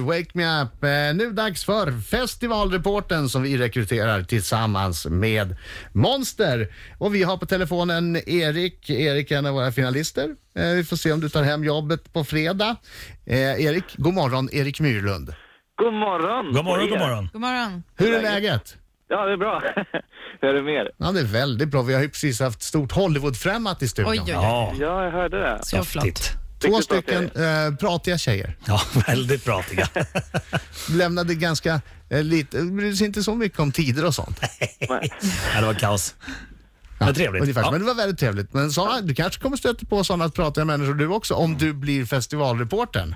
Wake Me Up. Eh, Nu dags för festivalreporten som vi rekryterar tillsammans med Monster. Och vi har på telefonen Erik. Erik är en av våra finalister. Eh, Vi får se om du tar hem jobbet på fredag. Eh, Erik, god morgon. Erik Myrlund. God morgon! God på morgon, er. god morgon. God morgon. Hur är läget? Ja, det är bra. Hur är det med er? Ja, det är väldigt bra. Vi har ju precis haft stort Hollywood-främmat i studion. Oj, oj, oj. Ja, Ja, jag hörde det. Så flott. häftigt. Två Riktigt bra stycken eh, pratiga tjejer. Ja, väldigt pratiga. Lämnade ganska eh, lite, brydde sig inte så mycket om tider och sånt. Ja, det var kaos. Men trevligt. Ungefär. Ja. Men det var väldigt trevligt. Men såna, du kanske kommer stöta på sådana pratiga människor du också, om du blir festivalreportern.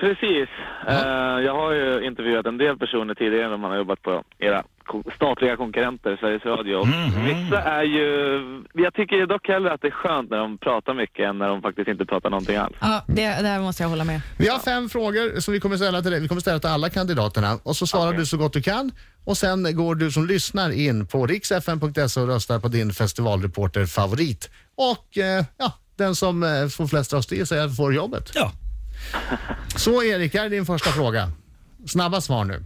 Precis. Eh, jag har ju intervjuat en del personer tidigare när man har jobbat på era ko- statliga konkurrenter, Sveriges Radio. Och Mhm. Vissa är ju... Jag tycker dock hellre att det är skönt när de pratar mycket än när de faktiskt inte pratar någonting alls. Ja, det, det här måste jag hålla med. Vi har fem frågor som vi kommer ställa till dig. Vi kommer ställa till alla kandidaterna och så svarar Okej. du så gott du kan. Och sen går du som lyssnar in på riksfn.se och röstar på din festivalreporterfavorit. Och eh, ja, den som eh, får flest röster i sig får jobbet. Ja. Så Erik, här är din första fråga. Snabba svar nu.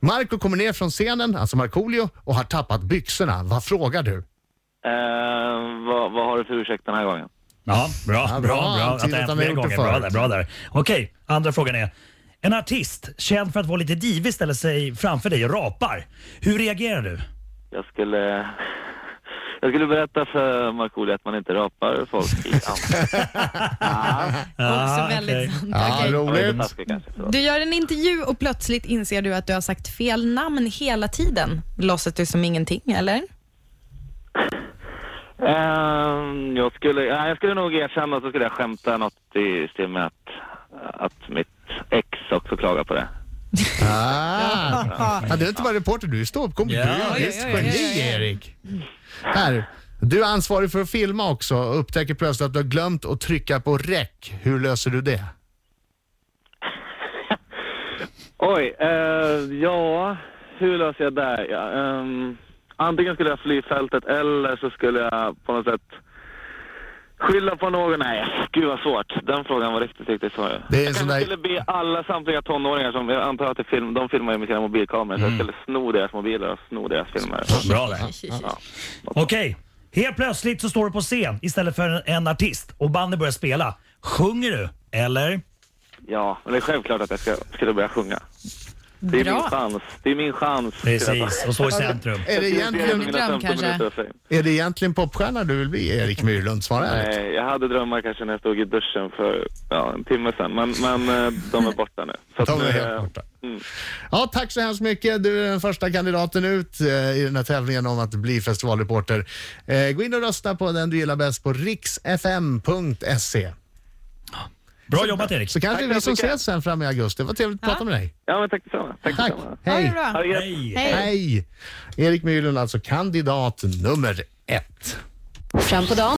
Marco kommer ner från scenen, alltså Markoolio, och har tappat byxorna. Vad frågar du? Eh, vad, vad har du för ursäkt den här gången? Ja, bra, Ja, bra, bra. bra. Antyder Att det har att han hänt har fler gjort det gånger. Bra förut. där, bra där. Okej, andra frågan är. En artist, känd för att vara lite divig, ställer sig framför dig och rapar. Hur reagerar du? Jag skulle... Jag skulle berätta för Markoolio att man inte rapar folk i ansiktet. Ah, Också väldigt okej. sant. Ja, Okej. Jag vet inte, roligt. taskigt kanske, förlåt. Du gör en intervju och plötsligt inser du att du har sagt fel namn hela tiden. Låtsas du som ingenting, eller? Ehm, jag, skulle, ja, jag skulle nog erkänna att jag skulle jag skämta något i stil med att, att mitt ex också klagar på det. Ah. Ja, du är inte bara reporter, du är ståuppkomiker. Ja, Du är oj, visst oj, oj, oj, geni, oj. Erik. Här. Du är ansvarig för att filma också och upptäcker plötsligt att du har glömt att trycka på rec. Hur löser du det? Oj, eh, ja, hur löser jag det? Ja, ehm, antingen skulle jag fly fältet eller så skulle jag på något sätt skylla på någon. Nej, gud vad svårt. Den frågan var riktigt, riktigt svår. Det är en jag sån kanske där- skulle be alla samtliga tonåringar som, jag antar att det film, de filmar ju med sina mobilkameror, så Mm. jag skulle sno deras mobiler och sno deras filmer. Bra där. Okej. Helt plötsligt så står du på scen istället för en, en artist och bandet börjar spela. Sjunger du? Eller? Ja, men det är självklart att jag ska, skulle börja sjunga. Det är Bra. min chans. Det är min chans. Precis, och så i centrum. Är det egentligen, Dröm, kanske? är det egentligen popstjärna du vill bli, Erik Myrlund? Svara ärligt. Nej, jag hade drömmar kanske när jag stod i duschen för ja, en timme sedan, men, men eh, de är borta nu. Så att De är nu, helt eh, borta. Ja, tack så hemskt mycket. Du är den första kandidaten ut eh, i den här tävlingen om att bli festivalreporter. Eh, gå in och rösta på den du gillar bäst på riksfm.se. Bra jobbat Erik. Så kanske Tack det är vi så som mycket. ses sen fram i augusti. Det var trevligt att prata med dig. Ja, men tack detsamma. Tack. Tack. detsamma. Ha Hej. det bra. Ha det gött. Hej. Hej. Hej. Erik Myrlund, alltså kandidat nummer ett. Fram på dagen